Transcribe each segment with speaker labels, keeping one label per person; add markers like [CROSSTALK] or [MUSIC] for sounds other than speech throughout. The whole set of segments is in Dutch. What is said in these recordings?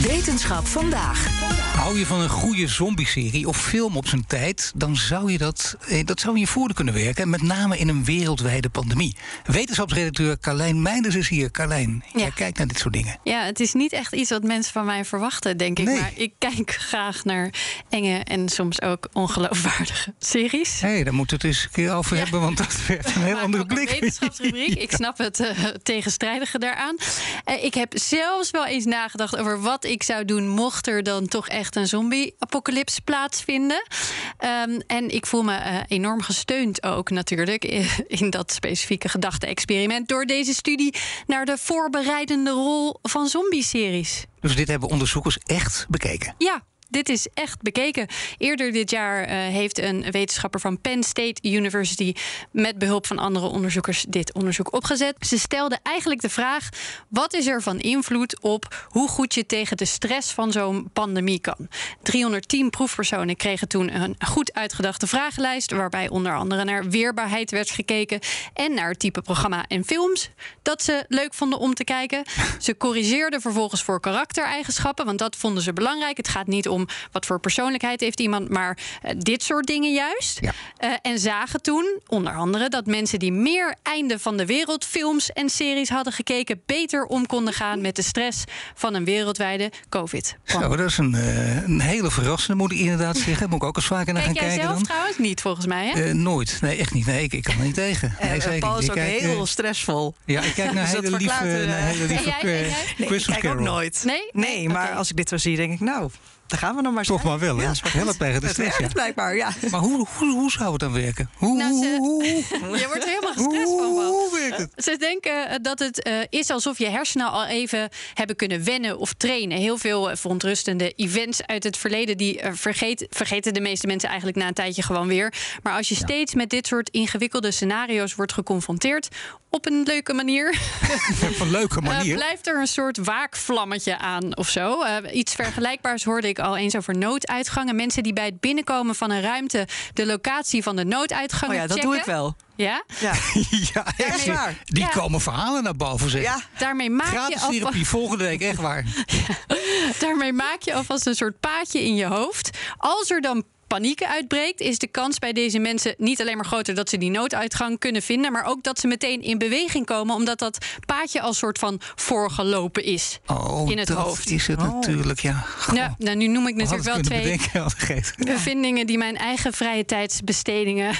Speaker 1: Wetenschap vandaag.
Speaker 2: Hou je van een goede zombie-serie of film op zijn tijd, dan zou je dat, eh, dat zou in je voordeel kunnen werken. Met name in een wereldwijde pandemie. Wetenschapsredacteur Carlijn Meinders is hier. Carlijn, jij
Speaker 3: Ja.
Speaker 2: kijkt naar dit soort dingen.
Speaker 3: Ja, het is niet echt iets wat mensen van mij verwachten, denk ik.
Speaker 2: Nee.
Speaker 3: Maar ik kijk graag naar enge en soms ook ongeloofwaardige series.
Speaker 2: Hé, daar moeten we het eens een keer over
Speaker 3: Ja.
Speaker 2: hebben, want dat werd
Speaker 4: [LAUGHS]
Speaker 2: een heel
Speaker 3: Maar
Speaker 2: andere
Speaker 3: ook een
Speaker 2: blik. [LAUGHS]
Speaker 3: wetenschapsrubriek. Ik snap het eh, tegenstrijdige daaraan. Eh, ik heb zelfs wel eens nagedacht over wat ik zou doen mocht er dan toch echt een zombie-apocalyps plaatsvinden. Ehm, en ik voel me eh, enorm gesteund ook natuurlijk eh, in [LAUGHS] dat specifieke gedachte-experiment door deze studie naar de voorbereidende rol van zombie-series.
Speaker 2: Dus dit hebben onderzoekers echt bekeken.
Speaker 3: Ja. Dit is echt bekeken. Eerder dit jaar eh, heeft een wetenschapper van Penn State University met behulp van andere onderzoekers dit onderzoek opgezet. Ze stelde eigenlijk de vraag: wat is er van invloed op hoe goed je tegen de stress van zo'n pandemie kan? 310 proefpersonen kregen toen een goed uitgedachte vragenlijst, waarbij onder andere naar weerbaarheid werd gekeken en naar het type programma en films dat ze leuk vonden om
Speaker 2: [LAUGHS]
Speaker 3: te kijken. Ze corrigeerden vervolgens voor karaktereigenschappen, want dat vonden ze belangrijk. Het gaat niet om wat voor persoonlijkheid heeft iemand, maar eh, dit soort dingen juist.
Speaker 2: Ja.
Speaker 3: Eh, en zagen toen onder andere dat mensen die meer einde van de wereld films en series hadden gekeken, beter om konden gaan met de stress van een wereldwijde COVID.
Speaker 2: Zo, dat is een, eh, een hele verrassende, moet ik
Speaker 4: [LAUGHS]
Speaker 2: inderdaad zeggen. Moet ik ook eens vaker naar
Speaker 3: Kijk
Speaker 2: gaan
Speaker 3: jij
Speaker 2: kijken
Speaker 3: zelf
Speaker 2: dan.
Speaker 3: trouwens niet, volgens mij. Hè?
Speaker 2: Eh, nooit. Nee, echt niet. Nee, ik, ik kan er
Speaker 4: [LAUGHS]
Speaker 2: niet tegen. Nee,
Speaker 4: En
Speaker 2: zeker
Speaker 4: Paul
Speaker 2: niet.
Speaker 4: Oh, is
Speaker 2: Ik
Speaker 4: ook
Speaker 2: kijk, eh,
Speaker 4: heel stressvol.
Speaker 2: Ja, ik
Speaker 4: [LAUGHS]
Speaker 2: kijk naar
Speaker 4: Dus dat
Speaker 2: hele lieve,
Speaker 4: verklaart, eh,
Speaker 2: naar
Speaker 4: [LAUGHS]
Speaker 2: hele lieve
Speaker 3: jij- en jij?
Speaker 2: eh,
Speaker 4: Nee, ik
Speaker 2: Christmas
Speaker 4: kijk ook
Speaker 2: Carol.
Speaker 4: nooit.
Speaker 3: Nee?
Speaker 4: Nee,
Speaker 3: Nee,
Speaker 4: maar
Speaker 3: oké.
Speaker 4: als ik dit zo zie, denk ik, nou, daar gaan we nog maar
Speaker 2: Toch maar wel, hè?
Speaker 4: [LAUGHS] Ja, is maar
Speaker 2: Helpt
Speaker 4: goed.
Speaker 2: tegen de
Speaker 4: Het
Speaker 2: stress, ja.
Speaker 4: werkt blijkbaar, ja.
Speaker 2: Maar hoe, hoe, hoe zou het dan werken? Hoe,
Speaker 3: Nou, [LAUGHS] ze-
Speaker 2: hoe, hoe,
Speaker 3: Je wordt er helemaal
Speaker 2: hoe,
Speaker 3: gestrest van.
Speaker 2: hoe,
Speaker 3: Paul.
Speaker 2: hoe werkt het?
Speaker 3: Ze denken eh, dat het eh, is alsof je hersenen al even hebben kunnen wennen of trainen. Heel veel eh, verontrustende events uit het verleden die eh, vergeet, vergeten de meeste mensen eigenlijk na een tijdje gewoon weer. Maar als je steeds met dit soort ingewikkelde scenario's wordt geconfronteerd op een leuke manier, [LAUGHS]
Speaker 2: Op een leuke
Speaker 3: eh,
Speaker 2: manier.
Speaker 3: blijft er een soort waakvlammetje aan of zo. Eh, iets vergelijkbaars hoorde ik al eens over nooduitgangen. Mensen die bij het binnenkomen van een ruimte de locatie van de nooduitgang
Speaker 4: Oh ja, dat doe ik wel.
Speaker 3: Ja?
Speaker 4: Ja,
Speaker 2: [LAUGHS] ja,
Speaker 4: Ja,
Speaker 2: echt.
Speaker 4: echt waar.
Speaker 2: Die
Speaker 3: Ja.
Speaker 2: komen verhalen naar boven, zeg.
Speaker 4: ja.
Speaker 3: Daarmee maak
Speaker 2: Gratis
Speaker 3: je alvast...
Speaker 2: therapie volgende week, echt waar.
Speaker 3: [LAUGHS] Daarmee maak je alvast een soort paadje in je hoofd. Als er dan paniek uitbreekt, is de kans bij deze mensen niet alleen maar groter dat ze die nooduitgang kunnen vinden, maar ook dat ze meteen in beweging komen, omdat dat paadje als soort van voorgelopen is.
Speaker 2: Oh,
Speaker 3: In het
Speaker 2: dat
Speaker 3: hoofd.
Speaker 2: is het natuurlijk, ja. Goh,
Speaker 3: Ja, nou, nu noem ik
Speaker 2: we hadden
Speaker 3: natuurlijk
Speaker 2: het
Speaker 3: wel
Speaker 2: kunnen
Speaker 3: twee
Speaker 2: bedenken, had gegeten.
Speaker 3: bevindingen die mijn eigen vrije tijdsbestedingen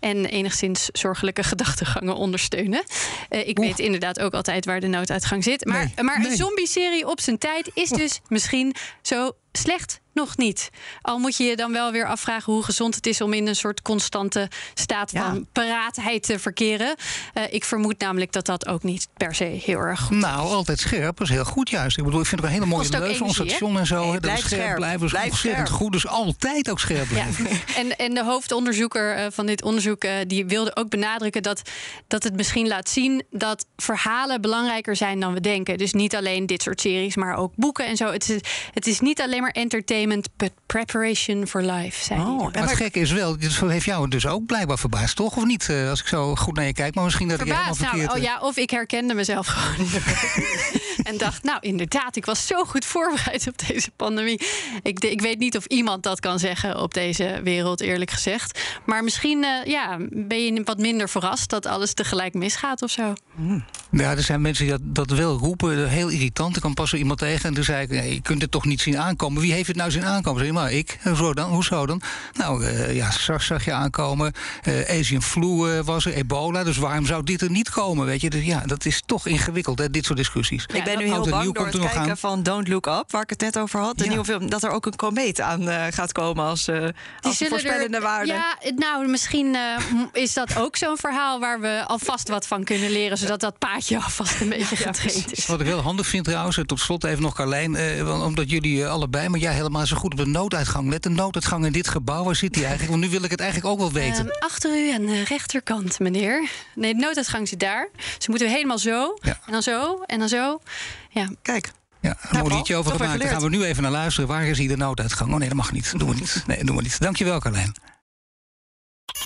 Speaker 3: en enigszins zorgelijke gedachtegangen ondersteunen. Eh, ik weet inderdaad ook altijd waar de nooduitgang zit. Maar,
Speaker 2: Nee,
Speaker 3: maar
Speaker 2: nee.
Speaker 3: een zombie-serie op zijn tijd is dus misschien zo slecht nog niet. Al moet je je dan wel weer afvragen hoe gezond het is om in een soort constante staat
Speaker 4: Ja.
Speaker 3: van paraatheid te verkeren. Eh, ik vermoed namelijk dat dat ook niet per se heel erg goed
Speaker 2: Nou, altijd scherp. Dat is heel goed juist. Ik bedoel, ik vind het ook een hele mooie
Speaker 3: Kost ook
Speaker 2: leus van ons
Speaker 3: energie, hè?
Speaker 2: station en zo.
Speaker 4: Nee,
Speaker 2: hè, dat we
Speaker 4: blijf
Speaker 2: scherp,
Speaker 4: scherp.
Speaker 2: blijven. Dat is
Speaker 4: Blijf
Speaker 2: ontzettend
Speaker 4: scherp.
Speaker 2: goed. Dus altijd ook scherp blijven.
Speaker 3: [LAUGHS] En, en de hoofdonderzoeker eh, van dit onderzoek eh, die wilde ook benadrukken dat, dat het misschien laat zien dat verhalen belangrijker zijn dan we denken. Dus niet alleen dit soort series, maar ook boeken en zo. Het is, het is niet alleen maar entertainment, but preparation for life, zei hij.
Speaker 4: Oh,
Speaker 2: Maar het gekke is wel, dit heeft jou dus ook blijkbaar verbaasd, toch? Of niet? Eh, Als ik zo goed naar je kijk, maar misschien dat ik
Speaker 3: Verbaasd.
Speaker 2: helemaal
Speaker 3: Nou,
Speaker 2: verkeerd...
Speaker 3: oh
Speaker 2: eh,
Speaker 3: ja, of ik herkende mezelf [LAUGHS] gewoon. en dacht, nou inderdaad, ik was zo goed voorbereid op deze pandemie. Ik, de- ik weet niet of iemand dat kan zeggen op deze wereld, eerlijk gezegd. Maar misschien eh, ja, ben je wat minder verrast dat alles tegelijk misgaat of zo.
Speaker 2: Ja, er zijn mensen die dat, dat wel roepen. Heel irritant. Ik kwam pas zo iemand tegen en toen zei ik... nee, je kunt het toch niet zien aankomen. Wie heeft het nou zien aankomen. Zeg je, maar ik, Eh, zo dan, hoezo dan? Nou, eh, ja, SARS zag je aankomen. Eh, Asian flu eh, was er, ebola. Dus waarom zou dit er niet komen? Weet je? Dus ja, dat is toch ingewikkeld, hè, dit soort discussies.
Speaker 4: ik ben nu
Speaker 2: Oud
Speaker 4: heel
Speaker 2: en nieuw
Speaker 4: bang door
Speaker 2: komt
Speaker 4: het
Speaker 2: er nog
Speaker 4: kijken
Speaker 2: aan.
Speaker 4: van Don't Look Up, waar ik het net over had. De
Speaker 2: Ja.
Speaker 4: nieuwe film, dat er ook een komeet aan eh, gaat komen als, eh als een voorspellende waarde.
Speaker 3: Ja, het- nou, misschien eh, m- is dat ook zo'n verhaal waar we alvast wat van kunnen leren. Zodat dat paadje alvast een beetje getraind is.
Speaker 2: Wat ik heel handig vind trouwens, en tot slot even nog Carlijn, eh, want- omdat jullie eh, allebei, maar jij helemaal zo goed op de nooduitgang. Let de nooduitgang in dit gebouw, waar zit die eigenlijk? Want nu wil ik het eigenlijk ook wel weten.
Speaker 3: Ehm, achter u aan de rechterkant, meneer. Nee, de nooduitgang zit daar. Ze moeten we helemaal zo,
Speaker 2: Ja.
Speaker 3: en dan zo, en dan zo. Ja,
Speaker 4: Kijk,
Speaker 2: ja, een mooi
Speaker 4: nou, Paul,
Speaker 2: liedje over
Speaker 4: toch weer
Speaker 2: gemaakt. Daar gaan we
Speaker 4: geleerd.
Speaker 2: nu even naar luisteren. Waar is hier de nooduitgang? Oh nee, dat mag niet. Doen we niet. Nee, doen we niet. Dankjewel, Carlijn.